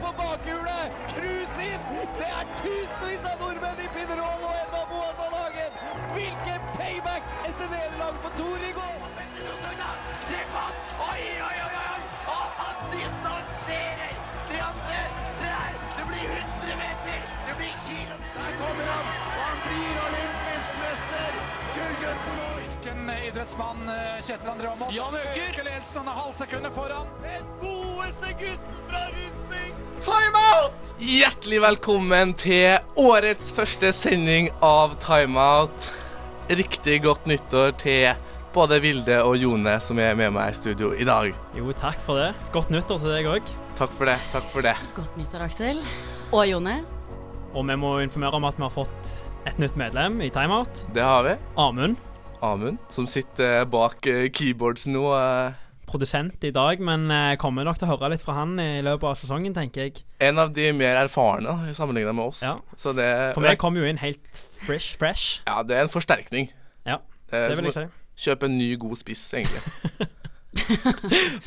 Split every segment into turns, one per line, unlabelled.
på bakhjulet! Cruise inn! Det er tusenvis av nordmenn i Pinerol og Edvard Boasson Hagen! Hvilken payback etter nederlag for Thor i går!
Se på han! Oi, oi, oi! oi! Og han distanserer de andre! Se her! Det blir 100 meter! Det blir kilometer!
Der kommer han! Og han blir olympisk mester! Gullgutten vår!
Hvilken idrettsmann eh, Kjetil André Aamodt?
Jan Øker!
Øker Ledelsen, han er halvt sekundet foran.
Den godeste gutten fra Rundsbygd!
Timeout! Hjertelig velkommen til årets første sending av Timeout. Riktig godt nyttår til både Vilde og Jone som er med meg i studio i dag.
Jo, takk for det. Godt nyttår til deg òg.
Takk for det. takk for det.
Godt nyttår, Aksel. Og Jone.
Og vi må informere om at vi har fått et nytt medlem i Timeout.
Det har vi.
Amund.
Amund, som sitter bak eh, keyboards nå. eh.
Produsent i dag, men eh, kommer nok til å høre litt fra han i løpet av sesongen, tenker jeg.
En av de mer erfarne da, i sammenlignet med oss.
Ja.
Så det,
For vi kom jo inn helt fresh, fresh.
ja, det er en forsterkning.
Ja,
Eh, så
det vil
må-
jeg si.
Kjøp en ny, god spiss, egentlig.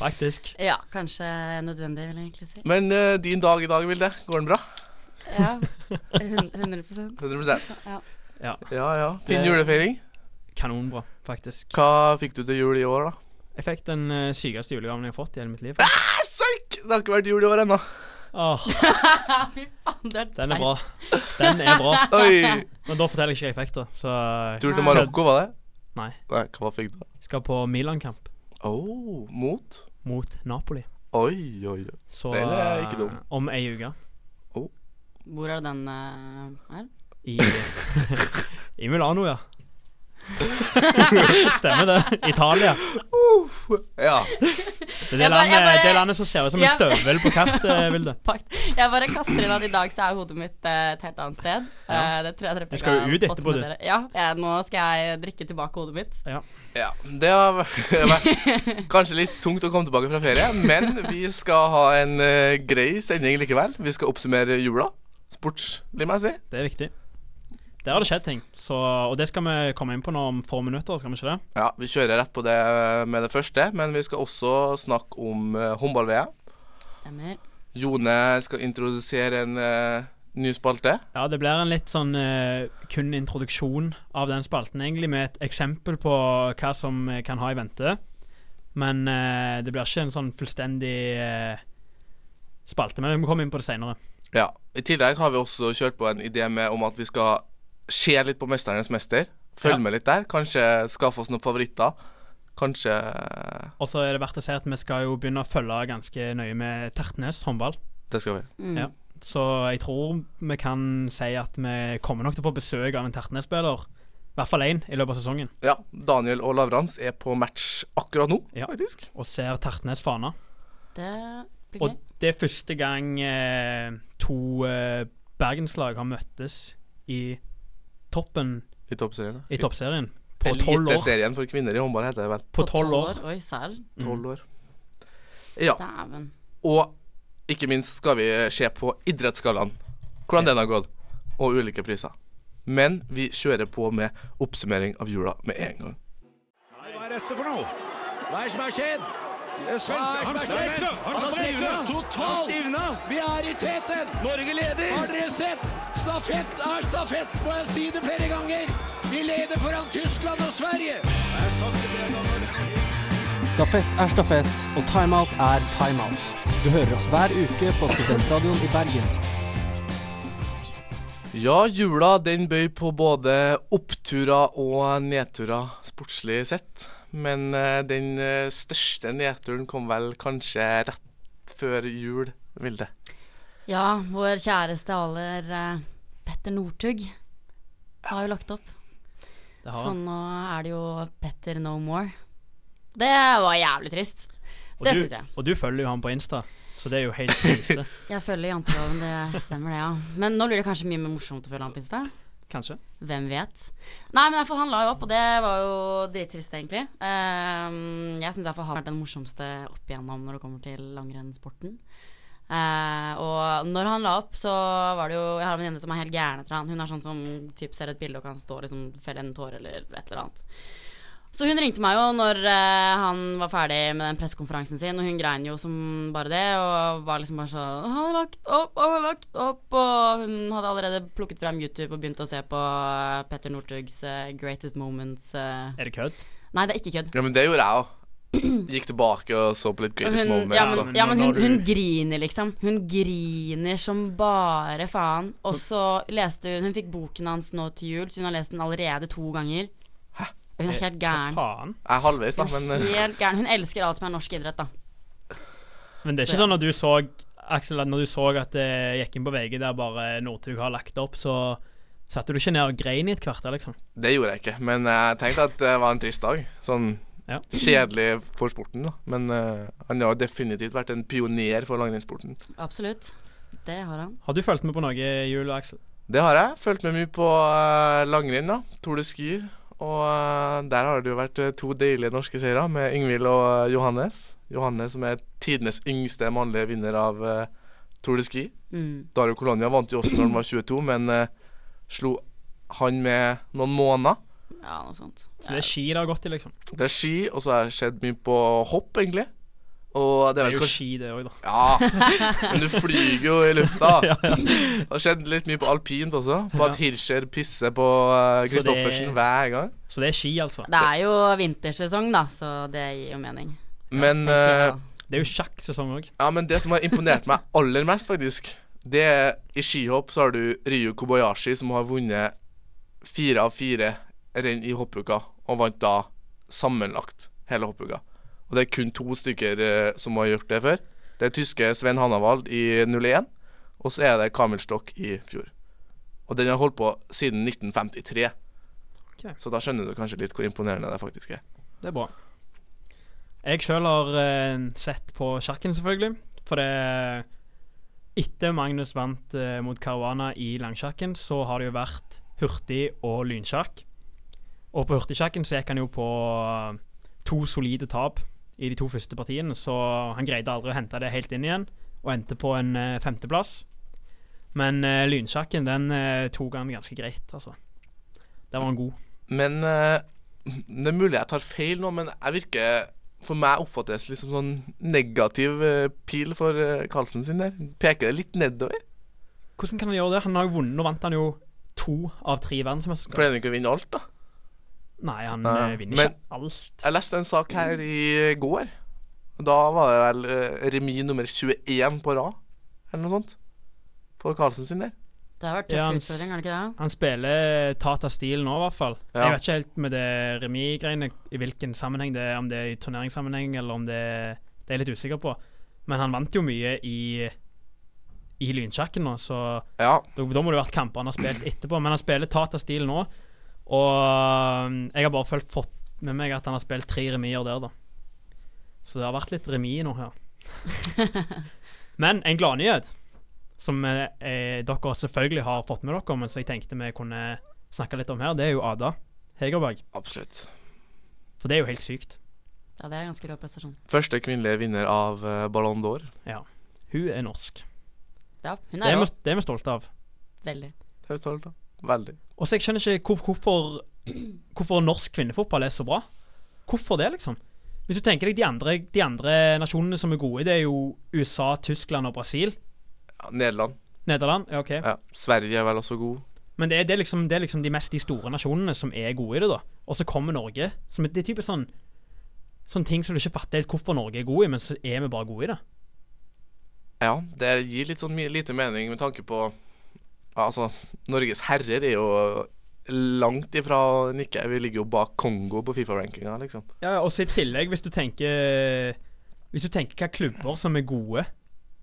Faktisk.
Ja, kanskje nødvendig, vil jeg egentlig si.
Men eh, din dag i dag, Vilde. Går den bra?
Ja, 100
100
Ja.
Ja.
ja. ja. Fin
Det-
julefeiring.
Kanonbra, faktisk.
Hva fikk du til jul i år, da?
Jeg fikk den eh, sykeste julegaven jeg har fått i hele mitt liv.
Søkk! Det har ikke vært jul i år ennå.
Åh,
Fy faen, det er
den er
teit.
bra. Den er bra.
Oi!
Men da forteller jeg ikke hva jeg fikk, da. Så
Tur til Marokko, var det?
Nei.
Nei, hva fikk du?
jeg eh, skal på Milan-kamp
Oh, mot?
mot Napoli.
Oi, oi, oi.
Så
Den er ikke dum.
eh, om ei uke.
Hvor er den eh, her?
I, I Milano, ja. Stemmer det. Italia.
Ja.
Det er det,
Jeg bare-
landet,
jeg bare-
det landet som ser ut som en
jeg-
støvel på kartet, Vilde.
Fakt. Jeg bare kaster inn at i dag så er hodet mitt eh, et helt annet sted.
Ja.
Eh, det tror jeg dere
Du skal jo
har
ut
fått
etterpå,
med
du.
dere. Ja, jeg, nå skal jeg drikke tilbake hodet mitt.
ja. Det har vært kanskje litt tungt å komme tilbake fra ferie, men vi skal ha en eh, grei sending likevel. Vi skal oppsummere jula. Sportslig, må jeg si.
Det er viktig. Der har det skjedd ting. Så, og det skal vi komme inn på nå om få minutter, skal vi ikke det?
Ja, vi kjører rett på det eh, med det første, men vi skal også snakke om eh, håndball-VM.
Stemmer.
Jone skal introdusere en eh, ny spalte.
Ja, det blir en litt sånn eh, kun introduksjon av den spalten, egentlig, med et eksempel på hva som eh, kan ha i vente. Men eh, det blir ikke en sånn fullstendig eh, spalte. Men vi må komme inn på det seinere.
Ja. I tillegg har vi også kjørt på en idé med om at vi skal se litt på 'Mesternes mester'. Følge
Ja.
med litt der. Kanskje skaffe oss noen favoritter. Kanskje
Og så er det verdt å si at vi skal jo begynne å følge ganske nøye med Tertnes håndball.
Det skal vi.
Mm.
Ja. Så jeg tror vi kan si at vi kommer nok til å få besøk av en Tertnes-spiller. I hvert fall én i løpet av sesongen.
Ja. Daniel og Lavrans er på match akkurat nå,
Ja.
faktisk.
Og ser Tertnes fana.
Det blir
Og
gøy.
det er første gang eh, to eh, bergenslag har møttes i toppen
I toppserien.
i toppserien. På tolv år.
Eliteserien for kvinner i håndball heter det vel.
På tolv år.
Oi, serr.
Tolv år. Ja.
Dæven.
Og ikke minst skal vi se på idrettsgallaen. Hvordan den har gått, og ulike priser. Men vi kjører på med oppsummering av jula med en gang.
Hva er dette for noe? Hva er det som har skjedd? Han stivna! Han stivna totalt! Vi er i teten! Norge leder! Har dere sett? Stafett er stafett, må jeg si det flere ganger! Vi leder foran Tyskland og Sverige!
Stafett er stafett, og timeout er timeout. Du hører oss hver uke på Studentradioen i Bergen.
Ja, jula den bøy på både oppturer og nedturer sportslig sett. Men eh, den eh, største nedturen kom vel kanskje rett før jul, Vilde.
Ja, vår kjæreste aller eh, Petter Northug har jo lagt opp.
Det har
Så
han.
nå er det jo Petter No More. Det var jævlig trist.
Og
det
du-
syns jeg.
Og du følger jo han på Insta, så det er jo helt krise.
Jeg følger janteloven, det stemmer det, ja. Men nå blir det kanskje mye mer morsomt å følge han på Insta.
Kanskje.
Hvem vet. Nei, men i hvert fall han la jo opp, og det var jo drittrist, egentlig. Ehm, jeg syns iallfall han har vært den morsomste opp igjennom når det kommer til langrennssporten. Eh, og når han la opp, så var det jo Jeg har en venninne som er helt gæren etter han. Hun er sånn som typ, ser et bilde og kan stå og liksom, felle en tåre eller et eller annet. Så hun ringte meg jo når eh, han var ferdig med den pressekonferansen sin, og hun grein jo som bare det, og var liksom bare sånn Han har lagt opp, han har lagt opp, og hun hadde allerede plukket frem YouTube og begynt å se på eh, Petter Northugs eh, Greatest Moments. eh.
Er det kødd?
Nei, det er ikke kødd.
Ja, men det gjorde jeg òg. Gikk tilbake og så på litt
Og
Greatest
hun-
liksom
Moments.
ja,
altså.
men, ja, men
Når
hun,
du-
hun griner, liksom. Hun griner som bare faen. Og så leste hun Hun fikk boken hans nå til jul, så hun har lest den allerede to ganger. Hun er helt gæren.
Eh, Faen.
Jeg er halvveis, da, men eh,
Helt gæren. Hun elsker alt som er norsk idrett, da.
Men det er
Så
ikke
ja.
sånn at du så Aksel, at når du så at det gikk inn på VG der bare Northug har lagt opp, så satte du ikke ned og grein i et kvarter, liksom?
det gjorde jeg ikke. Men jeg tenkte at det var en trist dag. Sånn
Ja.
kjedelig for sporten, da. Men eh, han har definitivt vært en pioner for langrennssporten.
Absolutt. Det har han.
Har du fulgt med på noe i jul, Aksel?
Det har jeg. Fulgt med mye på eh, langrenn, da. Tour de Skier. Og eh, der har det jo vært eh, to deilige norske seire med Yngvild og eh, Johannes. Johannes som er tidenes yngste mannlige vinner av eh, Tour de Ski.
Mm.
Dario Colonia vant jo også når han var 22, men eh, slo han med noen måneder.
Ja, noe sånt.
Så det er ski det har gått i, liksom?
Det er ski, og så har det skjedd mye på hopp, egentlig. Og det er
Det er
vel
jo
kanskje
ski, det òg, da.
Ja, men du flyger jo i lufta. Det har skjedd litt mye på alpint også. På at Hirscher pisser på eh,
Så det-
Kristoffersen hver gang.
Så det er ski, altså.
Det er jo vintersesong, da, så det gir jo mening.
Men,
tenker
eh,
jeg da.
Det er jo sjakksesong òg.
ja, men det som har imponert meg aller mest, faktisk, det er i skihopp så har du Ryu Kobayashi, som har vunnet fire av fire renn i hoppuka, og vant da sammenlagt hele hoppuka. Og det er kun to stykker eh, som har gjort det før. Det er tyske Sven Hannavald i 01, og så er det Kamil Stokk i fjor. Og den har holdt på siden 1953.
Ok.
Så da skjønner du kanskje litt hvor imponerende det faktisk er.
Det er bra. Jeg sjøl har eh, sett på sjakken, selvfølgelig. For det Etter Magnus vant eh, mot Caruana i langsjakken, så har det jo vært hurtig- og lynsjakk. Og på hurtigsjakken så gikk han jo på eh, to solide tap i de to første partiene, så han greide aldri å hente det helt inn igjen, og endte på en eh, femteplass. Men eh, lynsjakken, den eh, tok han ganske greit, altså. Der var han god.
Men eh, det er mulig jeg tar feil nå, men jeg virker For meg oppfattes det liksom sånn negativ eh, pil for eh, Carlsen sin der. Peker det litt nedover.
Hvordan kan han gjøre det? Han har jo vunnet. Nå vant han jo to av tre verdensmesterskap.
Pleier han ikke å vinne alt, da?
Nei, han
Nei,
eh, vinner
men-
ikke alt.
Jeg leste en sak her i går. Og Da var det vel eh, remis nummer 21 på rad, eller noe sånt. For Carlsen sin der.
Det har vært tøff
Ja, han s-
utfordring, har det ikke det?
Han spiller Tata Steel nå, i hvert fall.
Ja.
Jeg vet ikke helt med det remis-greiene, i hvilken sammenheng det er, om det er i turneringssammenheng, eller om det er Det er jeg litt usikker på. Men han vant jo mye i i lynsjakken nå, så
Ja.
da, da må det ha vært kamper han har spilt etterpå. Men han spiller Tata Steel nå, og mm, jeg har bare følt, fått med meg at han har spilt tre remier der, da. Så det har vært litt remis nå her. Men en gladnyhet, som eh, eh, dere selvfølgelig har fått med dere, men som jeg tenkte vi kunne snakke litt om her, det er jo Ada Hegerberg.
Absolutt.
For det er jo helt sykt.
Ja, det er en ganske rå prestasjon.
Første kvinnelige vinner av eh, Ballon d'Or.
Hun er norsk.
Ja, hun
Det
er
er
rå.
vi, det er vi stolte av.
Veldig.
Det er vi stolt av. Veldig.
Og så jeg skjønner ikke hvor, hvorfor, hvorfor norsk kvinnefotball er så bra. Hvorfor det, liksom? Hvis du tenker deg de andre, de andre nasjonene som er gode, det er jo USA, Tyskland og Brasil.
Ja, Nederland.
Nederland. ja, ok.
Ja. Sverige er vel også god.
Men det er, det, er liksom, det er liksom de mest de store nasjonene som er gode i det, da. Og så kommer Norge. Som et, det er typisk sånn Sånne ting som du ikke fatter helt hvorfor Norge er god i, men så er vi bare gode i det.
Ja, det gir litt sånn mi- lite mening med tanke på Altså, Norges herrer er jo langt ifra å nikke. Vi ligger jo bak Kongo på Fifa-rankinga, liksom.
Ja, og så i tillegg, hvis du tenker Hvis du tenker hva klubber som er gode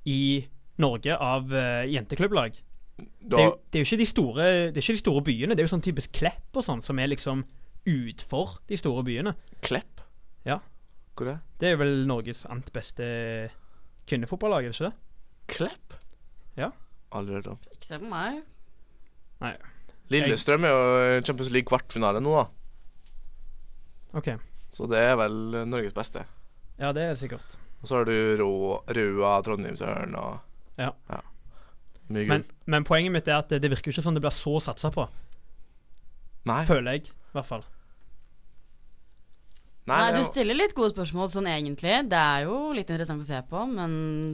i Norge av eh, jenteklubblag,
Du
det, er
har,
jo, det er jo ikke de store Det er ikke de store byene. Det er jo sånn typisk Klepp og sånn, som er liksom utfor de store byene.
Klepp?
Ja.
Hvor er det?
Det er vel Norges annet beste kvinnefotballag, er det ikke det?
Klepp?
Ja.
Aldri hørt om.
Ikke se på meg.
Lillestrøm er jo i Champions League kvartfinale nå, da.
OK.
Så det er vel Norges beste.
Ja, det er sikkert.
Og så har du Rå, Røa, Trondheimsørn og
Ja.
Mye gull.
Men, men poenget mitt er at det, det virker jo ikke sånn det blir så satsa på.
Nei.
Føler jeg, i hvert fall.
Nei,
det
du
var-
stiller litt gode spørsmål sånn egentlig. Det er jo litt interessant å se på, men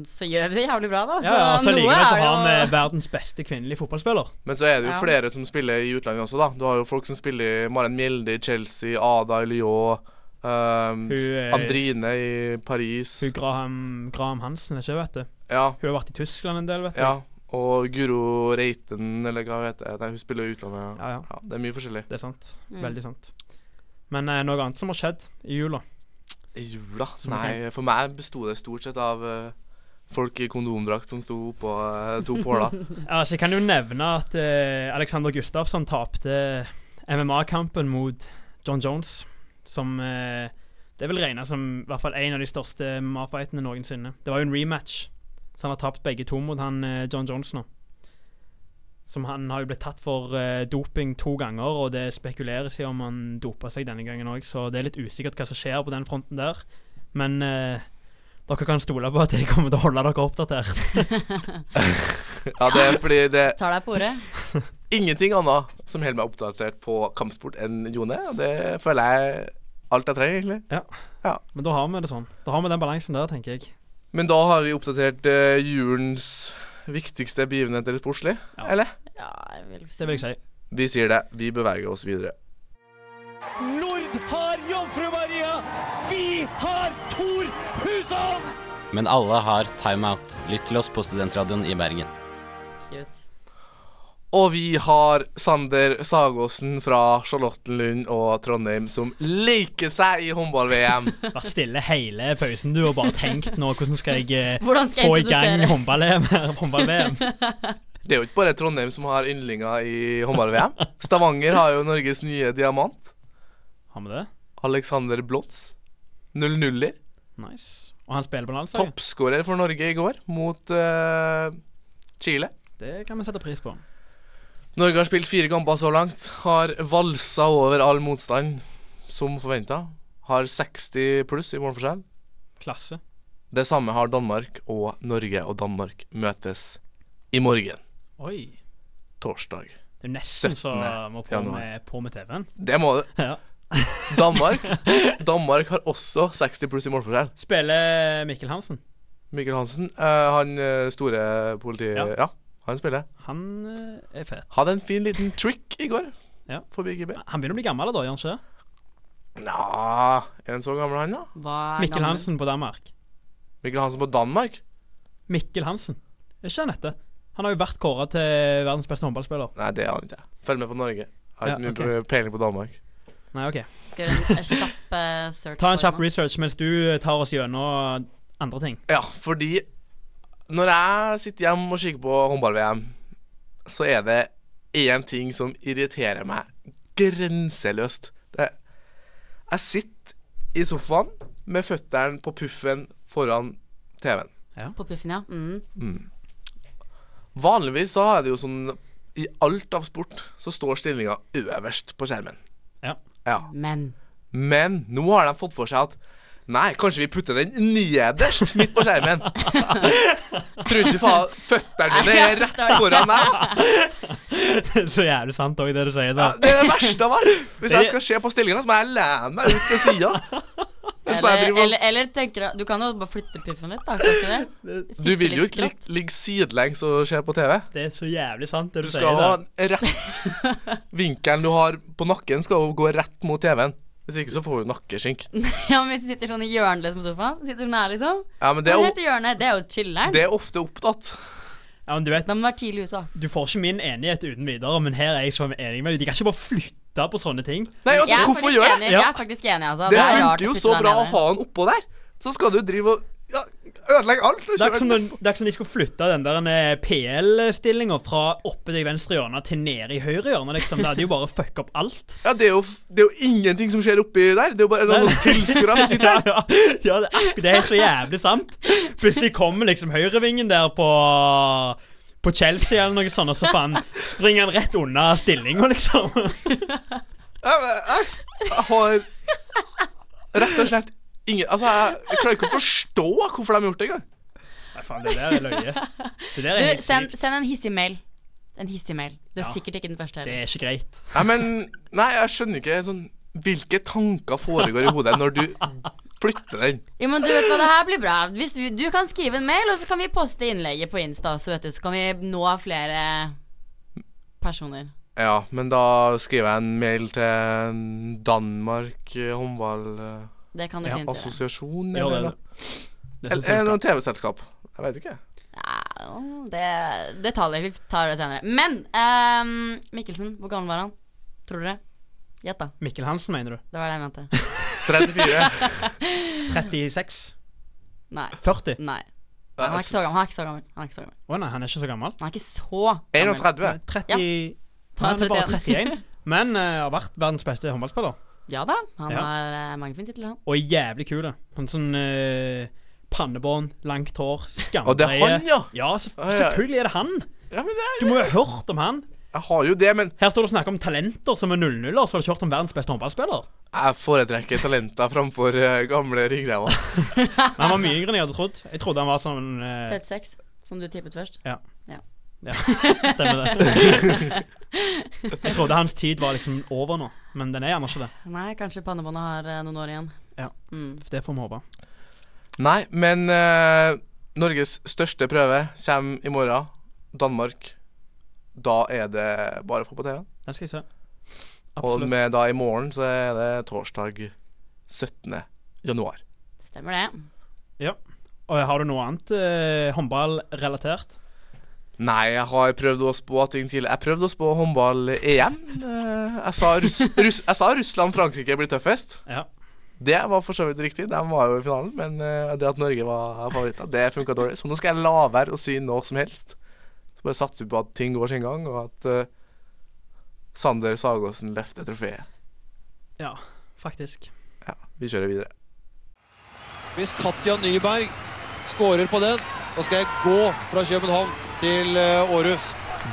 så gjør vi det jævlig bra, da.
Ja, ja, så likevel så
det
har vi verdens beste kvinnelige fotballspiller.
Men så er det jo
Ja.
flere som spiller i utlandet også, da. Du har jo folk som spiller i Maren Mjelde i Chelsea, Ada i Lyon, ehm,
Hun, eh,
Andrine i Paris.
Hun Graham, Graham Hansen, er ikke vet du.
Ja,
Hun har vært i Tyskland en del, vet du.
ja. Og Guro Reiten, eller hva hun heter. Nei, hun spiller i utlandet.
Ja, ja.
Ja, det er mye forskjellig.
Det er sant.
Mm.
Veldig sant. Men eh, noe annet som har skjedd i jula.
I jula?
Som
Nei, for meg besto det stort sett av eh, folk i kondomdrakt som sto oppå uh, to påler.
Altså, jeg kan jo nevne at eh, Alexander Gustafsson tapte MMA-kampen mot John Jones, som eh, det vil regne som i hvert fall en av de største MMA-fightene noensinne. Det var jo en rematch, så han har tapt begge to mot han eh, John Jones nå. Som han har jo blitt tatt for eh, doping to ganger, og det spekuleres i om han dopa seg denne gangen òg, så det er litt usikkert hva som skjer på den fronten der. Men eh, dere kan stole på at jeg kommer til å holde dere oppdatert.
Ja, det er fordi det er
Tar deg på ordet.
ingenting annet som holder meg oppdatert på kampsport enn Jone. og Det føler jeg alt jeg trenger, egentlig.
Men da har vi det sånn. Da har vi den balansen der, tenker jeg.
Men da har vi oppdatert eh, julens viktigste begivenheter sportslig,
Ja.
eller?
Ja, jeg vil
Det vil jeg si.
Vi sier det. Vi beveger oss videre.
Nord har Jomfru Maria. Vi har Tor Hushovd!
Men alle har timeout. Lytt til oss på Studentradioen i Bergen.
Cute.
Og vi har Sander Sagåsen fra Charlottenlund og Trondheim som leker seg i håndball-VM.
Vært stille hele pausen, du, og bare tenkt nå hvordan skal jeg eh,
Hvordan skal
få
jeg
i gang
introdusere?
håndball-VM her, håndball-VM?
Det er jo ikke bare Trondheim som har yndlinger i håndball-VM. Stavanger har jo Norges nye diamant.
Har vi det?
Alexander Blons. 0-0-er.
Nice. Og han spiller på landslaget.
Toppskårer for Norge i går mot eh, Chile.
Det kan vi sette pris på.
Norge har spilt fire kamper så langt. Har valsa over all motstand, som forventa. Har 60 pluss i målforskjell.
Klasse.
Det samme har Danmark og Norge, og Danmark møtes i morgen,
Oi.
torsdag.
Det er jo nesten så
17.
må på
januar.
med, på med TV-en.
Det må det.
Ja.
Danmark Danmark har også 60 pluss i målforskjell.
Spiller Mikkel Hansen.
Mikkel Hansen, eh, han eh, store politiet
Ja.
ja. han spiller.
Han eh, er fet.
Hadde en fin liten trick i går
Ja.
forbi GB.
Han begynner å bli gammel da, gjør han ikke det?
Nja, er han så gammel, han, da?
Hva er
Mikkel
gammel?
Hansen på Danmark.
Mikkel Hansen på Danmark?
Mikkel Hansen. Er ikke han dette? Han har jo vært kåra til verdens beste håndballspiller.
Nei, det er han ikke. Følg med på Norge. Har
Ja,
ikke mye
ok.
peiling på Danmark.
Nei, OK.
Skal jeg gjøre en kjapp eh, search?
Ta en
på
kjapp
den,
research mens du eh, tar oss gjennom eh, andre ting.
Ja, fordi når jeg sitter hjemme og kikker på håndball-VM, så er det én ting som irriterer meg grenseløst. Det jeg sitter i sofaen med føttene på puffen foran TV-en.
da. På puffen, ja. Mm.
Vanligvis så er det jo sånn I alt av sport så står stillinga øverst på skjermen.
Ja.
Ja.
Men
Men nå har de fått for seg at Nei, kanskje vi putter den nederst midt på skjermen. Tror du faen føttene mine er rett foran deg?
Så jævlig sant òg, det du sier. da
Det er det verste av alt. Hvis jeg skal se på stillinga, så må jeg lene meg ut til sida.
eller, eller, eller tenker jeg Du kan jo bare flytte puffen litt, da. Kan du ikke det?
Du
Sitte
vil jo
litt
ikke
skrått.
ligge- ligge sidelengs og se på TV.
Det er så jævlig sant, det
Du
du,
skal
sier.
ha
da
rett Vinkelen du har på nakken, skal jo gå rett mot TV-en. Hvis ikke så får du nakkeskink.
Ja, men Hvis du sitter sånn i hjørnet liksom, på sofaen, sitter sånn her, liksom
Ja, men
Det
det
er,
er,
helt i hjørnet, det er jo chiller'n.
det er ofte opptatt.
Ja, men Du vet,
Da må du være tidlig ute, da.
du får ikke min enighet uten videre, men her er jeg så enig med deg. De kan ikke bare flytte på sånne ting.
Nei, altså,
Jeg er
hvorfor
faktisk
gjør
enig,
det?
jeg er faktisk enig, altså.
Det
er
funker
rart å
jo
putte
så
den
bra å
ned
ha den oppå der. Så skal du drive og ja, ødelegge alt. Og
Det er ikke som,
kjøre.
den, det er ikke som de skulle flytte den der PL-stillinga fra oppe til venstre hjørne til nede i høyre hjørne. liksom. Det hadde jo bare fucka opp alt.
Ja, det er, jo, f- det er jo ingenting som skjer oppi der. Det er jo bare noen tilskuere som sitter
Ja,
der.
ja, ja det, er, akkurat- det er så jævlig sant. Plutselig kommer liksom høyrevingen der på på Chelsea eller noe sånt, og så faen springer han rett unna stillinga, liksom.
Ja, men Jeg, jeg har rett og slett ingen Altså, jeg, jeg klarer ikke å forstå hvorfor de har gjort det engang.
Nei, faen, det der er løye. Det der er
Du,
helt
send,
sykt.
send en hissig mail. En hissig mail. Du er
Ja.
sikkert ikke den første
Det
heller.
er ikke greit.
Nei, men Nei, jeg skjønner ikke sånn Hvilke tanker foregår i hodet når du flytter den?
Jo, men du vet hva, det her blir bra. Hvis du, du kan skrive en mail, og så kan vi poste innlegget på Insta også, vet du. Så kan vi nå flere personer.
Ja, men da skriver jeg en mail til Danmark eh, håndball... eh,
Det kan du fint gjøre.
Assosiasjon,
Ja, det er
eller
det.
noe?
Det
Eller
synes jeg
eller
skal.
noe TV-selskap. Jeg vet ikke.
Ja, det, det tar vi. Vi tar det senere. Men ehm, Mikkelsen, hvor gammel var han? Tror dere? Gjett, da.
Mikkel Hansen, mener du?
Det var det jeg mente.
34.
36?
Nei.
40?
Nei. Han er ikke så gammel. Han er ikke så gammel. Han er ikke så gammel.
Å nei, han er ikke så gammel.
Han er ikke så gammel.
31.
Nei, 30
Han er
Han er bare
31.
31, men eh, har vært verdens beste håndballspiller.
Ja da. Han
Ja.
har eh, mange fine titler, han.
Og er jævlig kul. da. Han er sånn eh, pannebånd, langt hår, skamdreie.
Og det er han, ja!
Ja, selvf-
Ja, ja.
selvfølgelig er det han.
ja men jeg,
Du må jo ha hørt om han.
jeg har jo det, men
Her står det og snakker om talenter som er 0-0, og så har du ikke hørt om verdens beste håndballspiller.
jeg foretrekker talenter framfor eh, gamle ringrever.
Men han var mye yngre enn jeg hadde trodd. Jeg trodde han var sånn eh,
36, som du tippet først.
Ja, stemmer det. Jeg trodde hans tid var liksom over nå, men den er gjerne ikke det.
Nei, kanskje pannebåndet har eh, noen år igjen.
Ja.
Mm.
Det får vi håpe.
Nei, men eh, Norges største prøve kommer i morgen. Danmark. Da er det bare å få på TV-en.
Den skal jeg se.
Og
Absolutt.
med da i morgen så er det torsdag 17. januar.
Stemmer det.
Og har du noe annet eh, håndballrelatert?
Nei, jeg har prøvd å spå ting til. Jeg prøvde å spå håndball-EM. Eh, Jeg sa, Russ Russ jeg sa Russland-Frankrike blir tøffest.
Ja.
Det var for så vidt riktig, de var jo i finalen. Men eh, det at Norge var favoritter, det funka dårlig. Så nå skal jeg la være å si noe som helst. Så bare satser vi på at ting går sin gang, og at eh, Sander Sagåsen løfter trofeet.
Ja, faktisk.
Ja, vi kjører videre.
Hvis Katja Nyberg skårer på den, da skal jeg gå fra København til eh, Århus.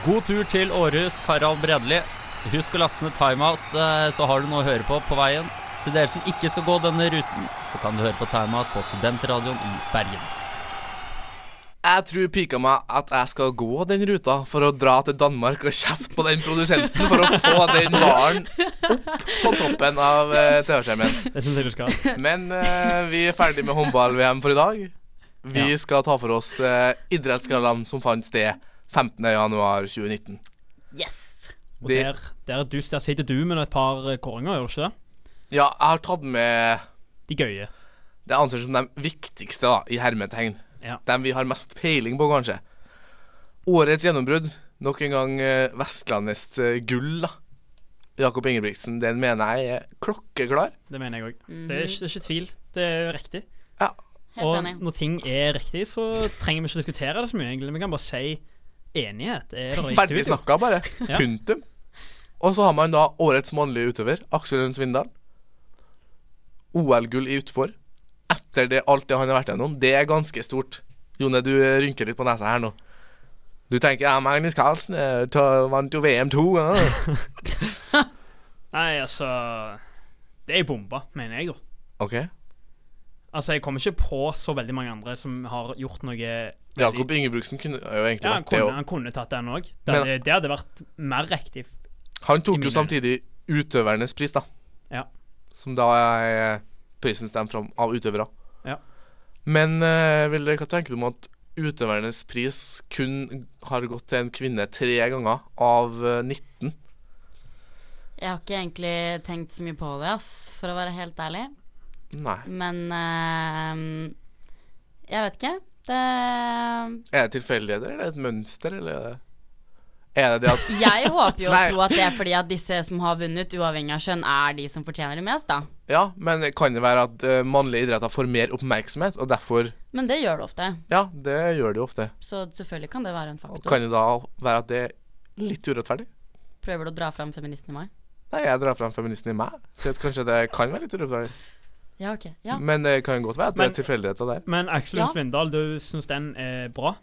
God tur til Århus, Harald Bredli. Husk å laste ned timeout, eh, så har du noe å høre på på veien. Til dere som ikke skal gå denne ruten, så kan du høre på timeout på Studentradioen i Bergen.
Jeg tror pika meg at jeg skal gå den ruta for å dra til Danmark og kjefte på den produsenten for å få den varen opp på toppen av eh, TV-skjermen.
Det syns jeg du skal.
Men eh, vi er ferdig med håndball-VM for i dag. Vi skal ta for oss eh, idrettsgallaen som fant sted 15.1.2019.
Yes!
Og
Det-
der, der, er du, der sitter du med et par eh, kåringer, gjør du ikke det?
Ja, jeg har tatt med
De gøye.
det jeg anser som de viktigste, da, i hermetegn.
Ja.
Dem vi har mest peiling på, kanskje. Årets gjennombrudd. Nok en gang eh, Vestlandets eh, gull, da. Jakob Ingebrigtsen. Den mener jeg er klokkeklar.
Det mener jeg òg. det, er ikke- det er ikke tvil. Det er riktig.
Ja.
Helt
og
enig.
når ting er riktig, så trenger vi ikke diskutere det så mye, egentlig. Vi kan bare si enighet. Er det riktig?
Ferdig
ut, jo?
snakka, bare.
Ja.
Punktum. Og så har man da årets mannlige utøver, Aksel Lund Svindal. OL-gull i utfor. Etter det, alt det han har vært gjennom. Det er ganske stort. Jone, du eh, rynker litt på nesa her nå. Du tenker ja, Magnus Carlsen eh, ta- vant jo VM to ganger.
Nei, altså Det er bomba, mener jeg, da.
OK.
Altså, jeg kommer ikke på så veldig mange andre som har gjort noe veldig-
Jakob Ingebrigtsen kunne jo egentlig
Ja, han
vært det.
kunne,
Og
han kunne tatt den òg. Det,
Men-
hadde- det hadde vært mer riktig.
han
i
tok
mine
jo samtidig utøvernes pris, da.
Ja.
Som da er eh, prisen stemt fram av utøvere.
Ja.
Men eh, vil dere hva tenker du om at utøvernes pris kun har gått til en kvinne tre ganger av eh, 19?
Jeg har ikke egentlig tenkt så mye på det, ass, for å være helt ærlig.
Nei.
Men ehm, jeg vet ikke. Det
Er det tilfeldigheter, eller er det et mønster, eller er det er det det at
Jeg håper jo å
Nei.
tro at det er fordi at disse som har vunnet, uavhengig av kjønn, er de som fortjener det mest, da.
Ja, men kan det være at eh, mannlige idretter får mer oppmerksomhet, og derfor
Men det gjør det ofte,
Ja, det gjør det jo ofte.
så selvfølgelig kan det være en
Og
faktor.
Kan det da være at det er litt urettferdig?
Prøver du å dra fram feministen i meg?
Nei, jeg drar fram feministen i meg. Så at kanskje det kan være litt urettferdig.
Ja, ok. Ja.
Men det kan godt være at det
Men-
er tilfeldigheter der.
Men Aksel Lund
Ja.
Svindal, du syns den er bra?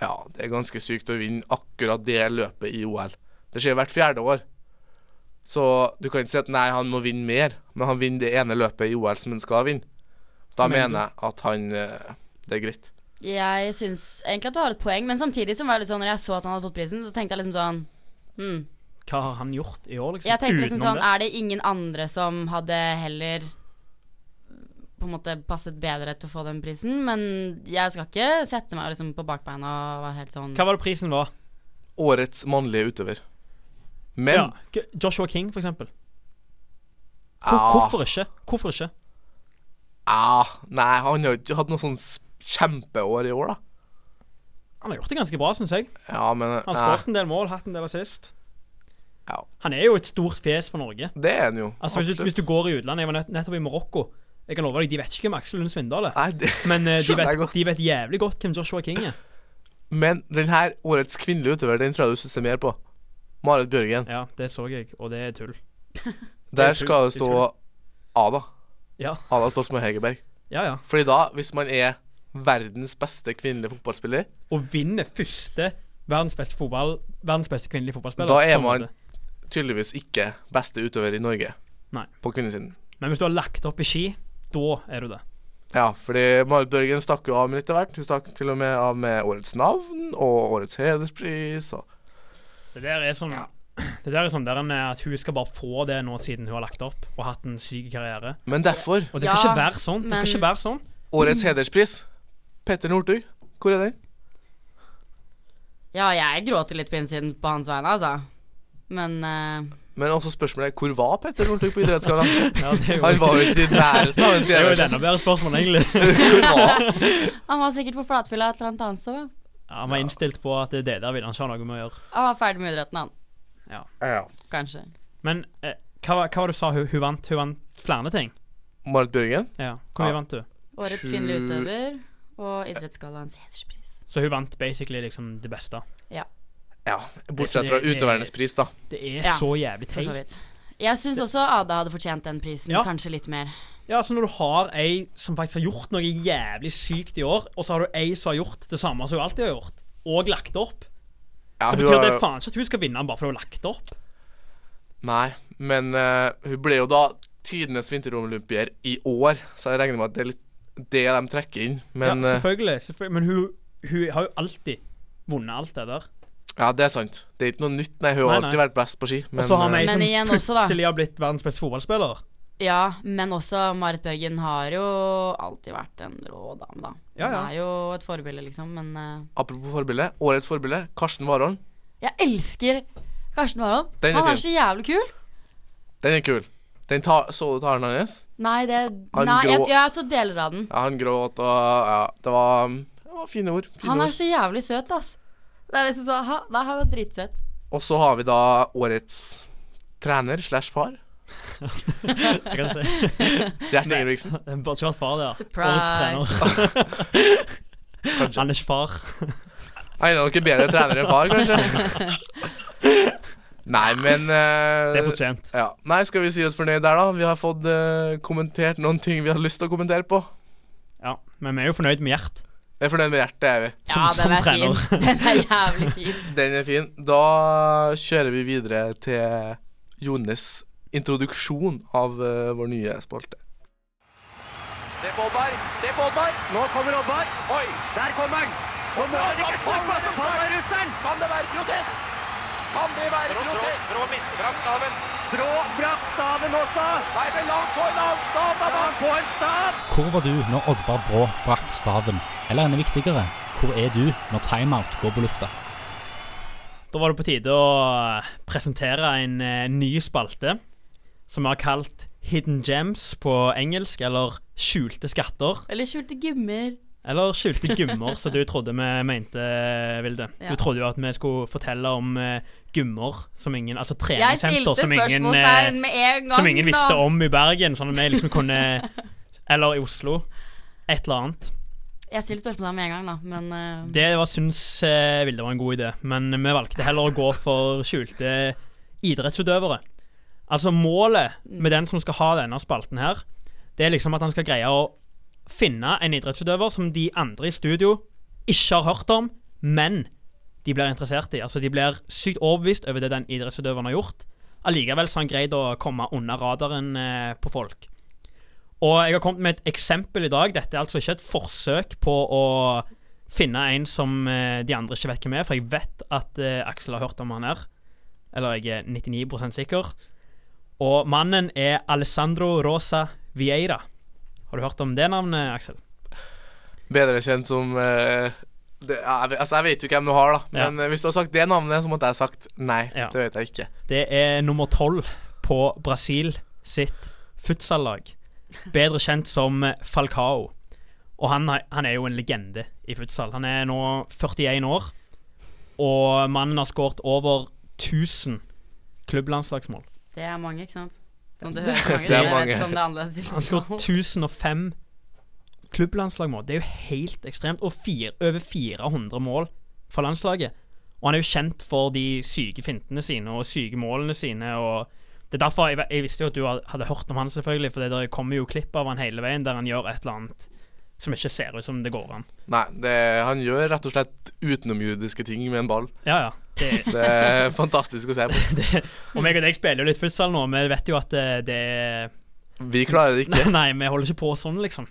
Ja, det er ganske sykt å vinne akkurat det løpet i OL. Det skjer hvert fjerde år. Så du kan ikke si at nei, han må vinne mer, men han vinner det ene løpet i OL som han skal vinne. Da
Men-
mener jeg at han eh, Det er greit.
Jeg syns egentlig at du har et poeng, men samtidig så var jeg litt sånn når jeg så at han hadde fått prisen, så tenkte jeg liksom sånn Hm,
hva har han gjort i år, liksom?
Jeg tenkte liksom
Utenom
sånn, er det ingen andre som hadde heller på en måte passet bedre til å få den prisen? Men jeg skal ikke sette meg liksom på bakbeina og være helt sånn
Hva var det prisen var?
Årets mannlige utøver. Men
Ja, k- Joshua King, for eksempel. Hvor,
Ja.
Hvorfor ikke? Hvorfor ikke?
ah, Nei, han har ikke hatt noe sånn s- kjempeår i år, da.
Han har gjort det ganske bra, syns jeg.
Ja, men
Han
nei,
skåret en del mål, hatt en del assist.
Ja.
Han er jo et stort fjes for Norge.
det er han jo.
Altså, hvis du, hvis du går i utlandet Jeg var nett, nettopp i Marokko. Jeg kan love deg, De vet ikke hvem Aksel Lund Svindal er,
Nei, det,
men eh, de,
skjønner jeg
vet,
godt.
de vet jævlig godt hvem Joshua King er.
men den her årets kvinnelige utøver, den tror jeg du ser mer på. Marit Bjørgen.
Ja, det så jeg, og det er tull.
Der
jeg tror-
skal det
jeg tror
stå Ada.
Ja.
Ada Stoltenberg Hegerberg.
Ja, ja.
Fordi da, hvis man er verdens beste kvinnelige fotballspiller,
Å vinne første verdens beste fotball Verdens beste kvinnelige fotballspiller
Da er
på en
man-
måte.
tydeligvis ikke beste utøver i Norge
Nei.
på kvinnesiden.
Men hvis du har lagt opp i ski, da er du det.
Ja, fordi Marit Bjørgen stakk jo av med litt av hvert. Hun stakk til og med av med årets navn og årets hederspris. Og
Det der er sånn Det der er sånn der en, eh, at hun skal bare få det nå siden hun har lagt opp og hatt en syk karriere.
Men derfor,
Og det skal ikke
Ja,
være sånn. Det skal
men-
ikke være sånn.
årets hederspris. Petter Northug, hvor er den?
Ja, jeg gråter litt på innsiden på hans vegne, altså. Men eh,
Men også spørsmålet er hvor var Petter Northug på idrettsgallaen?
Ja, det er jo,
Han var jo ikke i nærheten av en
det er jo et
TV-skjerm.
enda bedre spørsmål, egentlig.
Hvor var
han var sikkert på flatfylla et eller annet annet sted, da.
Ja, han var innstilt på at det der ville han ikke ha noe med å gjøre.
Han var ferdig med idretten, han.
ja.
Kanskje.
Men eh, hva, var- hva var det du sa hun, hun vant? Hun vant flere ting.
Marit Bjørgen?
Ja, Hvor mye
Ja.
vant hun?
Årets
Sju-
kvinnelige utøver og Idrettsgallaens hederspris.
Så hun vant basically liksom det beste.
Ja, bortsett fra utøvernes pris, da.
Det er
Ja,
så jævlig
For så
teit.
vidt. Jeg syns også Ada hadde fortjent den prisen,
Ja.
kanskje litt mer.
Ja, så når du har ei som faktisk har gjort noe jævlig sykt i år, og så har du ei som har gjort det samme som hun alltid har gjort, og lagt opp,
Ja,
så
hun
betyr
var-
det faen ikke at hun skal vinne bare fordi hun har lagt opp.
Nei, men eh, hun ble jo da tidenes vinterolympier i år, så jeg regner med at det er litt det de trekker inn. Men eh,
ja,
ja,
selvfølgelig, selvfølgelig. Men hun, hun har jo alltid vunnet alt det der.
ja det er sant. Det er ikke noe nytt. Nei, hun har
Nei,
alltid
nei.
vært best på ski. Men,
Og så har
eh,
vi ei
Men
som
igjen også, da.
plutselig har blitt verdens beste fotballspiller.
Ja, men også Marit Bjørgen har jo alltid vært en rå dame, da.
Ja, ja.
Hun er jo et forbilde, liksom, men eh,
apropos forbilde, årets forbilde, Karsten Warholm.
Jeg elsker Karsten Warholm.
Den er
Han
fin.
er så jævlig kul.
Den er kul. Den ta, så du talen hans?
Nei, det
Han
Nei, jeg,
grå-
jeg så deler av den.
Ja, han gråt og Ja, det var, mm, det var fine ord. Fine
Han er
ord.
så jævlig søt, ass. Det er liksom sånn ha, Nei, han er dritsøt.
Og så har vi da årets trener slash far.
Jeg kan si.
Gjert Ingebrigtsen.
Bare ikke vært far, det. da. Årets
Surprise.
trener. Han er ikke far.
Han er nok en bedre trener enn far, kanskje. Nei, men eh,
Det er fortjent.
Ja. Nei, skal vi si oss fornøyd der, da? Vi har fått eh, kommentert noen ting vi har lyst til å kommentere på.
Ja, Men vi er jo fornøyd med Gjert.
Jeg er fornøyd med hjertet, er vi.
Ja,
Som-
den
som
er fin. Den er jævlig fin.
Den er fin. Da kjører vi videre til Jones introduksjon av eh, vår nye spalte.
Se på Oddvar, se på Oddvar. Nå kommer Oddvar. Oi, der kommer han. Og må han ikke falle for russeren? Kan det være protest? Kan det være protest? Brå miste brakk staven. Brå brakk staven også. Nei, men la han få en annen stav, da. La han få en stav.
Hvor var du når Oddvar Brå brakk staven? Eller enda viktigere, hvor er du når timeout går på lufta?
Da var det på tide å eh, presentere en eh, ny spalte som vi har kalt Hidden Gems på engelsk, eller Skjulte skatter.
Eller skjulte gymmer.
Eller Skjulte gymmer, som du trodde vi mente, eh, Vilde.
Ja.
Du trodde jo at vi skulle fortelle om eh, gymmer som ingen Altså
Jeg
treningssenter
stilte
som ingen, eh,
spørsmålstegn med en gang,
som ingen visste
da.
om i Bergen, sånn at vi liksom kunne Eller i Oslo. Et eller annet.
Jeg stilte spørsmålstegn med en gang, da, men eh,
Det var, syns eh, Vilde var en god idé, men vi valgte heller å gå for skjulte idrettsutøvere. Altså Målet med den som skal ha denne spalten her, det er liksom at han skal greie å finne en idrettsutøver som de andre i studio ikke har hørt om, men de blir interessert i. Altså De blir sykt overbevist over det den idrettsutøveren har gjort. Allikevel så har han greid å komme under radaren eh, på folk. Og jeg har kommet med et eksempel i dag. Dette er altså ikke et forsøk på å finne en som eh, de andre ikke vet hvem er, for jeg vet at eh, Aksel har hørt om han her. Eller jeg er 99 sikker. Og mannen er Alessandro Rosa Vieira. Har du hørt om det navnet, Aksel?
Bedre kjent som eh, det, jeg, altså, jeg vet jo hvem du har, da.
Ja.
Men eh, hvis du har sagt det navnet, så måtte jeg ha sagt nei.
Ja.
Det vet jeg ikke.
Det er nummer tolv på Brasil sitt futsallag. Bedre kjent som eh, Falcao. Og han, er- han er jo en legende i futsal. Han er nå 41 år, og mannen har skåret over 1000 klubblandslagsmål.
Det er mange, ikke sant? Som du
Det-
hører, mange.
det er
Jeg vet ikke om det er annerledes. i
Han skåret
fotball.
1005 klubblandslag mål. Det er jo helt ekstremt. Og fire, over 400 mål for landslaget. Og han er jo kjent for de syke fintene sine og syke målene sine. og det er derfor jeg, jeg visste jo at du hadde hørt om han, selvfølgelig, for det der kommer jo klipp av han hele veien der han gjør et eller annet som ikke ser ut som det går an.
Nei, det, han gjør rett og slett utenomjordiske ting med en ball.
Ja, ja. Det-
Det er fantastisk å se på.
Og meg og deg spiller jo litt futsal nå, vi vet jo at eh, det, det
Vi klarer det ikke.
Nei, vi holder ikke på sånn, liksom.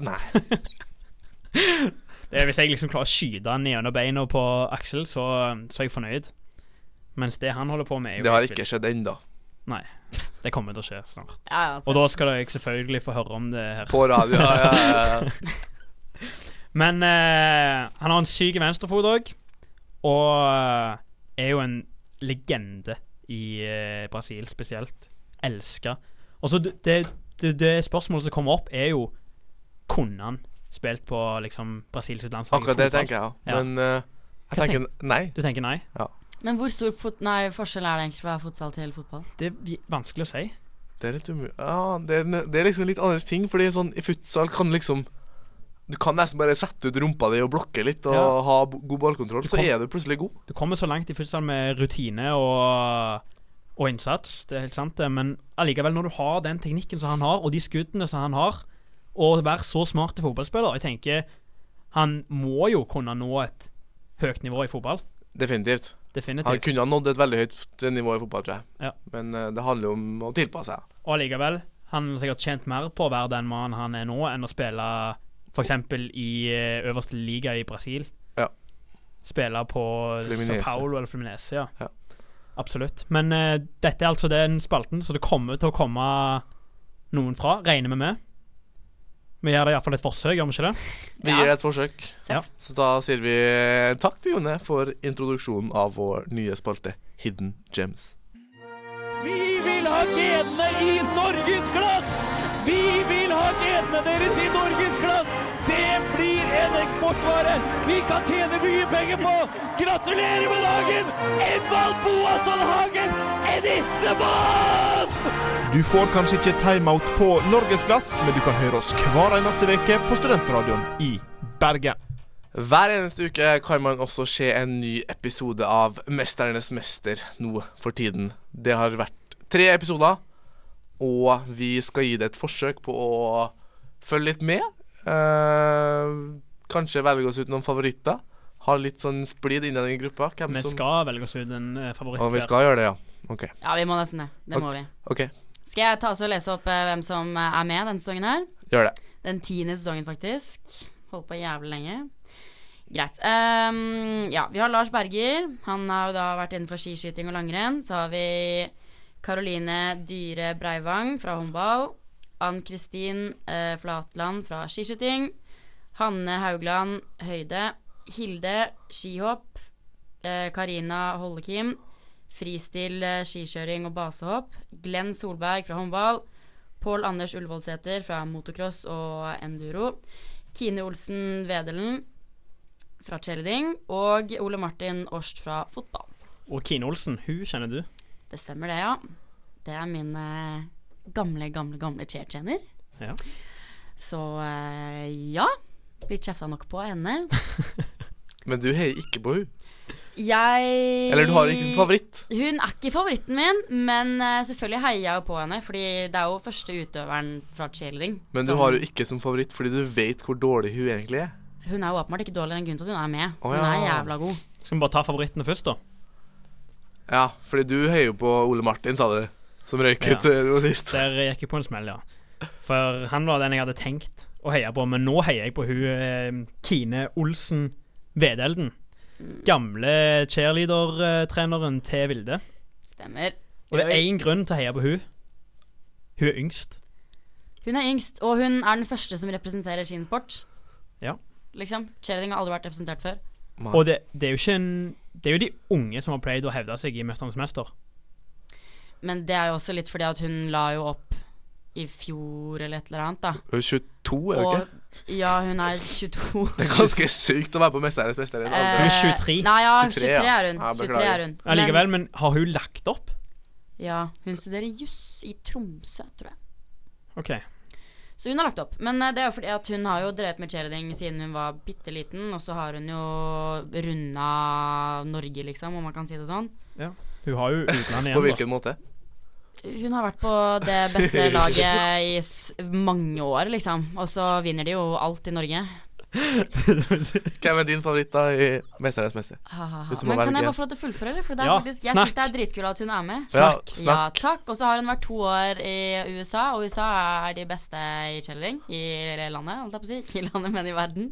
det er hvis jeg liksom klarer å skyte han gjennom beina på Aksel, så, så er jeg fornøyd. Mens det han holder på med, er jo
Det har
helt
ikke
vilt.
skjedd ennå.
Nei. Det kommer til å skje snart.
Ja, ja, altså.
Og da skal jeg selvfølgelig få høre om det her.
På radio, ja, ja, ja.
Men eh, han har en syk venstrefot òg, og eh, er jo en legende i eh, Brasil spesielt. Elska. Og så det, det, det- det spørsmålet som kommer opp, er jo Kunne han spilt på liksom Brasil sitt landslag? i
Akkurat det
fotball?
tenker jeg òg.
Ja.
Men eh,
Hva
jeg tenker
tenk-
nei.
Du tenker nei?
Men hvor stor fot nei, forskjell er det egentlig fra fotsal til fotball?
Det er vanskelig å si.
Det er litt umulig Ja, det er, det er liksom litt andre ting, fordi sånn i futsal kan liksom Du kan nesten bare sette ut rumpa di og blokke litt og
Ja.
ha bo- god ballkontroll, så
kan-
er du plutselig god.
Du kommer så langt i futsal med rutine og, og innsats, det er helt sant, det. Men allikevel, når du har den teknikken som han har, og de skuddene som han har, og være så smart til fotballspiller Jeg tenker han må jo kunne nå et høyt nivå i fotball.
Definitivt.
Definitivt.
Han kunne ha nådd et veldig høyt f- nivå i fotball, tror jeg.
Ja.
Men eh, det handler jo om å tilpasse seg.
Og allikevel, han har sikkert tjent mer på å være den mannen han er nå, enn å spille f.eks. i eh, øverste liga i Brasil.
Ja.
Spille på
Fluminense.
Sao Paulo eller Fluminese, ja.
Ja.
Absolutt. Men eh, dette er altså den spalten, så det kommer til å komme noen fra, regner vi med. Vi gjør det iallfall et forsøk, gjør vi ikke det?
Vi gir det et forsøk.
Ja.
Så da sier vi takk til Jone for introduksjonen av vår nye spalte Hidden Gems.
Vi vil ha genene i norgesklass! Vi vil ha genene deres i norgesklass! Det blir en eksportvare vi kan tjene mye penger på! Gratulerer med dagen, Edvald Boasson Hagen! Eddie the Boss!
Du får kanskje ikke timeout på Norgesglass, men du kan høre oss hver eneste uke på Studentradioen i Bergen.
Hver eneste uke kan man også se en ny episode av Mesternes mester nå for tiden. Det har vært tre episoder, og vi skal gi det et forsøk på å følge litt med. Eh, kanskje velge oss ut noen favoritter. Ha litt sånn splid innen i gruppa. Hvem
Vi
som
skal velge oss ut en eh, favoritt.
Og vi
hver.
skal gjøre det, ja. OK.
Ja, vi må nesten det. Det må vi.
ok,
Skal jeg ta oss og lese opp eh, hvem som eh, er med denne sesongen her?
Gjør det.
Den tiende sesongen, faktisk. Holdt på jævlig lenge. Greit. Ehm, ja, vi har Lars Berger. Han har jo da vært innenfor skiskyting og langrenn. Så har vi Karoline Dyhre Breivang fra håndball. Ann Kristin eh, Flatland fra skiskyting. Hanne Haugland høyde. Hilde skihopp. Eh, Karina Hollekim fristil eh, skikjøring og basehopp. Glenn Solberg fra håndball. Pål Anders Ullevålsæter fra motocross og enduro. Kine Olsen Vedelen fra cheerleading. Og Ole Martin Årst fra fotball.
Og Kine Olsen, hun kjenner du.
Det stemmer det, ja. Det er min eh, gamle, gamle, gamle cheertrener.
Ja.
Så eh, ja. Blir kjefta nok på av henne.
Men du heier ikke på hun
Jeg
Eller du har
Eh,
ikke en favoritt?
Hun er ikke favoritten min, men eh, selvfølgelig heier jeg jo på henne. Fordi det er jo første utøveren fra cheerleading.
Men du
som-
har jo ikke som favoritt fordi du vet hvor dårlig hun egentlig er.
Hun er jo åpenbart ikke dårligere enn grunn til at hun er med.
Å,
Hun er
ja.
jævla god.
Skal vi bare ta favorittene først, da?
Ja, fordi du heier jo på Ole Martin, sa du. Som røyk ut eh, nå sist.
Der gikk jeg på en smell, ja. For han var den jeg hadde tenkt å heie på, men nå heier jeg på hun eh, Kine Olsen Vedelden. Gamle cheerleader-treneren til Vilde.
Stemmer.
Og det er
Oi.
én grunn til å heie på hun Hun er yngst.
Hun er yngst, og hun er den første som representerer sin sport.
Ja.
Liksom. Cheerleading har aldri vært representert før.
Og det, det er jo ikke en Det er jo de unge som har pleid å hevde seg i Mesternes mester.
Men det er jo også litt fordi at hun la jo opp i fjor eller et eller annet, da.
Hun er 22, er hun
Og-
ikke?
Ja, hun er 22.
Det er ganske sykt å være på Mesternes mester. i en alder.
Eh, Hun er 23. nei, ja, 23 er hun.
Ja,
23
beklager.
er hun.
Ja, likevel, men har hun lagt opp?
Ja, hun studerer juss i Tromsø, tror jeg.
OK.
Så hun har lagt opp. Men eh, det er jo fordi at hun har jo drevet med cheerleading siden hun var bitte liten, og så har hun jo runda Norge, liksom, om man kan si det sånn.
Ja. Hun har jo utlandet igjen.
På
da.
hvilken måte?
Hun har vært på det beste laget i s mange år, liksom. Og så vinner de jo alt i Norge.
Hvem er din favoritt da i Mesternes mester?
Ha, ha, ha.
Hvis du må
Men kan
velge
jeg
en.
bare få lov til å fullføre, eller? For det er
Ja,
faktisk, jeg
snakk.
syns det er dritkult at hun er med.
Ja, snakk.
Ja, takk. Og så har hun vært to år i USA, og USA er de beste i cheerleading i landet, holdt jeg på å si. Ikke i landet, men i verden.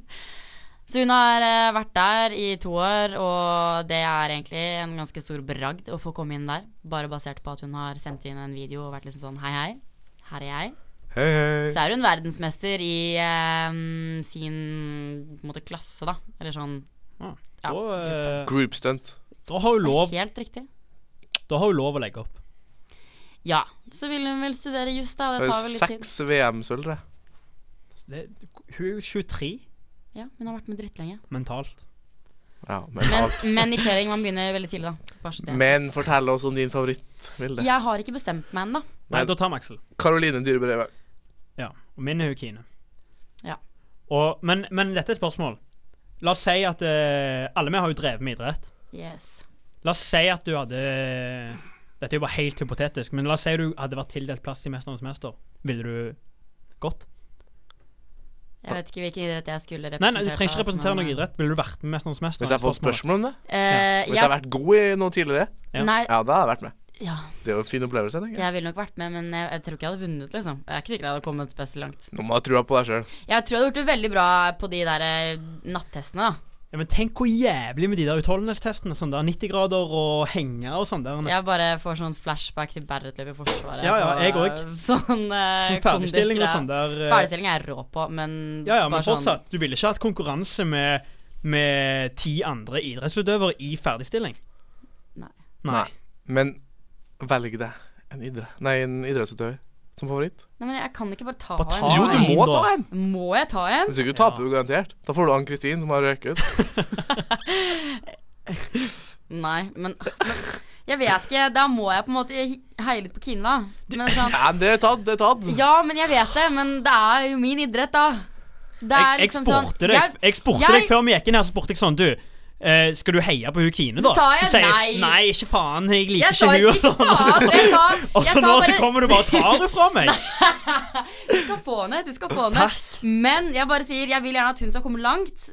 Så hun har eh, vært der i to år, og det er egentlig en ganske stor bragd å få komme inn der. Bare basert på at hun har sendt inn en video og vært liksom sånn hei, hei, her er jeg.
Hei, hei.
Så er hun verdensmester i eh, sin på en måte, klasse, da. Eller sånn
Ah.
ja,
gruppe.
eh,
Group stunt.
Da har hun lov
Helt riktig.
Da har hun lov å legge opp.
Ja. Så vil hun vel studere juss, da. og Det tar vel litt tid.
Seks VM-sølv, tror jeg.
Det, hun er jo 23
Ja, hun har vært med drittlenge.
mentalt.
Ja,
Men,
men,
men i cheering man begynner veldig tidlig, da. Bare så det er
men fortell oss om din favoritt,
sagt.
Vilde.
Jeg har ikke bestemt meg ennå.
Nei, da tar vi Aksel.
Karoline Dyrebrevet.
Ja. Og min er hun Kine.
Ja.
Og, men, men dette er et spørsmål. La oss si at eh, Alle vi har jo drevet med idrett.
Yes.
La oss si at du hadde Dette er jo bare helt hypotetisk, men la oss si du hadde vært tildelt plass i Mesternes mester. Ville du gått?
Jeg vet ikke hvilken idrett jeg skulle
Nei,
representere.
nei, du trenger ikke representere noe idrett. Ville du vært med i Mesternes mester?
Hvis jeg har fått
Spørsmålet.
spørsmål om det?
Eh,
Hvis
ja.
jeg har vært god i noe tidligere?
Ja. Nei.
Ja, da har jeg vært med.
Ja.
Det er jo en fin opplevelse, tenker jeg.
Jeg ville nok vært med, men jeg, jeg tror ikke jeg hadde vunnet, liksom. Jeg er ikke sikker jeg hadde kommet spesielt langt.
Nå må du ha trua på deg sjøl.
Jeg tror jeg hadde gjort det veldig bra på de der eh, nattestene, da.
Ja, men tenk hvor jævlig med de der utholdenhetstestene. Sånn der 90 grader og henge og sånn der.
Jeg bare får sånn flashback til Berretløp i Forsvaret.
Ja, ja, jeg
og,
òg.
Sånn eh,
Som ferdigstilling og
kondisgreier.
sånn der, eh.
Ferdigstilling er jeg rå på, men
Ja, ja, men
bare sånn
fortsatt. Du ville ikke hatt konkurranse med, med ti andre idrettsutøvere i ferdigstilling. Nei.
Men velg deg en, idre. Nei, en idrettsutøver som favoritt.
Nei, men jeg kan ikke bare ta,
Bare ta
en.
Jo, du en, må da. ta en.
Må jeg ta en?
Altså-
Hvis ikke du taper du garantert. Da får du Ann-Kristin, som har røket.
Nei, men, men Jeg vet ikke. Da må jeg på en måte heie litt på Kine, da. Men sånn,
Ja, men det er tatt, det er tatt.
ja, men jeg vet det. Men det er jo min idrett, da. Det er
Jeg, jeg
liksom sånn
spurte deg, jeg spurte
jeg-
deg før vi gikk inn her, så spurte jeg sånn, du. eh, skal du heie på hun Kine, da?
Sa jeg
så sier
nei?
Nei, ikke faen. Jeg liker
Jeg sa
ikke hun og
ikke
sånn.
faen, jeg sa-
og
jeg
så
sa
nå så
bare-
kommer du bare og tar det fra meg.
Du skal få henne. Du skal få henne. Men jeg bare sier jeg vil gjerne at hun skal komme langt.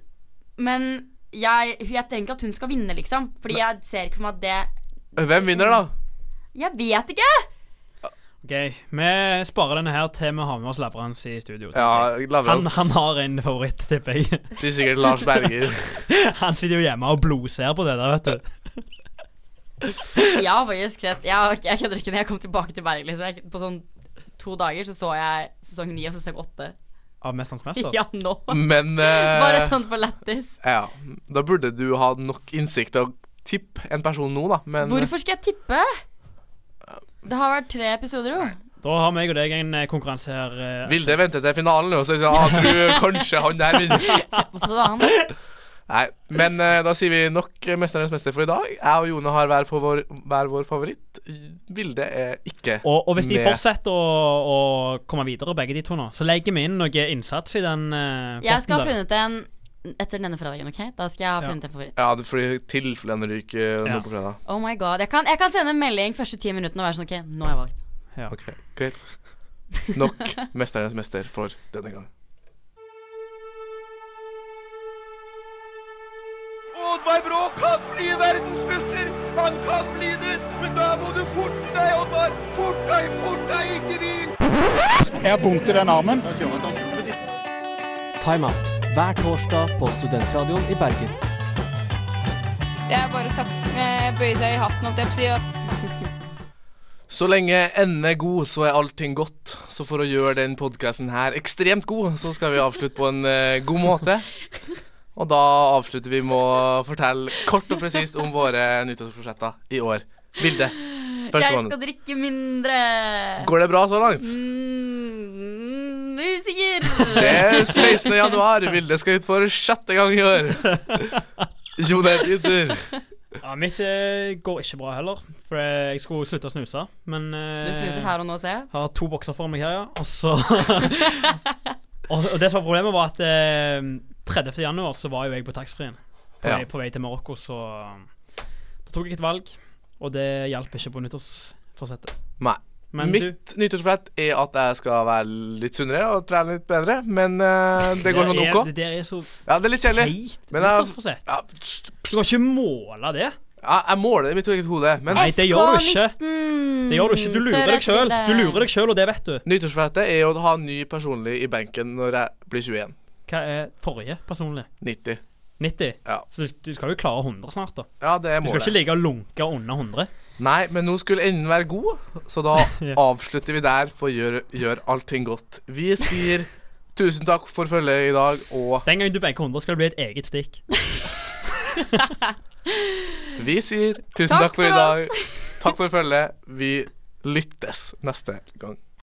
Men jeg, jeg trenger ikke at hun skal vinne, liksom. Fordi jeg ser ikke for meg at det
Hvem vinner, da?
Jeg vet ikke!
Ok, Vi sparer denne her til vi har med oss Lavrans i studio.
Ja,
tenker jeg. han,
Lavrans.
han har en favoritt, tipper jeg.
Sier sikkert Lars Berger.
han sitter jo hjemme og blodser på det der, vet du.
Jeg har faktisk sett Jeg, jeg kødder ikke når jeg kom tilbake til Bergen. Liksom. Jeg, på sånn to dager så så jeg sesong ni og sesong åtte.
Av Mesterens mester.
Ja, nå.
Men eh,
Bare sånn for lættis.
Ja. Da burde du ha nok innsikt til å tippe en person nå, da. Men
Hvorfor skal jeg tippe? Det har vært tre episoder, jo.
Da har meg og deg en eh, konkurranse her. eh,
Vilde venter til finalen, og så sier han ah, tror kanskje han der vinner.
Hvorfor så han?
Nei, men eh, da sier vi nok eh, 'Mesternes mester' for i dag. Jeg og Jone har hver, for vår, hver vår favoritt. Vilde er ikke
Og, og hvis de
med.
fortsetter å, å komme videre, begge de to nå, så legger vi inn noe innsats i den eh,
Jeg skal ha
potten der.
funnet en etter denne fredagen, OK? Da skal jeg ha funnet en favoritt.
Ja, det- fordi tilfellet han ryker nå
Ja.
på fredag.
Oh my god. Jeg kan, jeg kan sende en melding første ti minuttene og være sånn OK, nå har jeg valgt.
Ja.
Ok, greit. Nok 'Mesternes mester' for denne gang.
Oddvar Brå kan bli verdensmester! Han kan bli det! Men da må du forte deg, Oddvar! Fort deg, fort deg, ikke hvil!
Jeg har vondt i den armen.
Timeout hver torsdag på Studentradioen i Bergen.
Det er bare å ta- eh, bøye seg i hatten, holdt jeg på å si. og-
Så lenge enden er god, så er allting godt. Så for å gjøre den podkasten her ekstremt god, så skal vi avslutte på en eh, god måte. Og da avslutter vi med å fortelle kort og presist om våre nyttårsforsetter i år. Vilde, første
Jeg
måned.
skal drikke mindre.
Går det bra så langt?
Mm, usikker.
Det er 16. januar. Vilde skal ut for sjette gang i år. Jo, det er din tur.
Ja, mitt eh, går ikke bra heller, for jeg skulle slutte å snuse, men eh,
Du snuser her og nå, ser jeg.
Har to bokser foran meg her, ja. Og så og, og det som var problemet, var at eh, 30. januar så var jo jeg på taxfree-en. På,
Ja.
vei- på vei til Marokko, så eh, da tok jeg et valg, og det hjalp ikke på nyttårsforsettet.
Nei.
Men
Mitt nyttårsforsett er at jeg skal være litt sunnere og trene litt bedre, men eh, det går sånn
er-
OK.
Det der er så
Ja, det er litt kjedelig.
teit
Men jeg-
nyttårsforsett.
Ja,
Du kan ikke måle det.
Ja, jeg måler det i mitt eget hode, men
Nei, det gjør du ikke. Det gjør du ikke. Du
Mm,
lurer deg sjøl. Du lurer deg sjøl, og det vet du.
Nyttårsforsettet er å ha en ny personlig i benken når jeg blir 21.
Hva er forrige personlig?
90.
90?
Ja.
Så du- du skal jo klare 100 snart, da.
Ja, det er
Du skal
målet.
ikke ligge og lunke under 100.
Nei, men nå skulle enden være god, så da avslutter vi der for å gjøre, gjøre allting godt. Vi sier tusen takk for følget i dag, og
Den gangen du benker 100, skal det bli et eget stikk.
Vi sier tusen takk,
Takk
for i
for
dag. Takk for følget. Vi lyttes neste gang.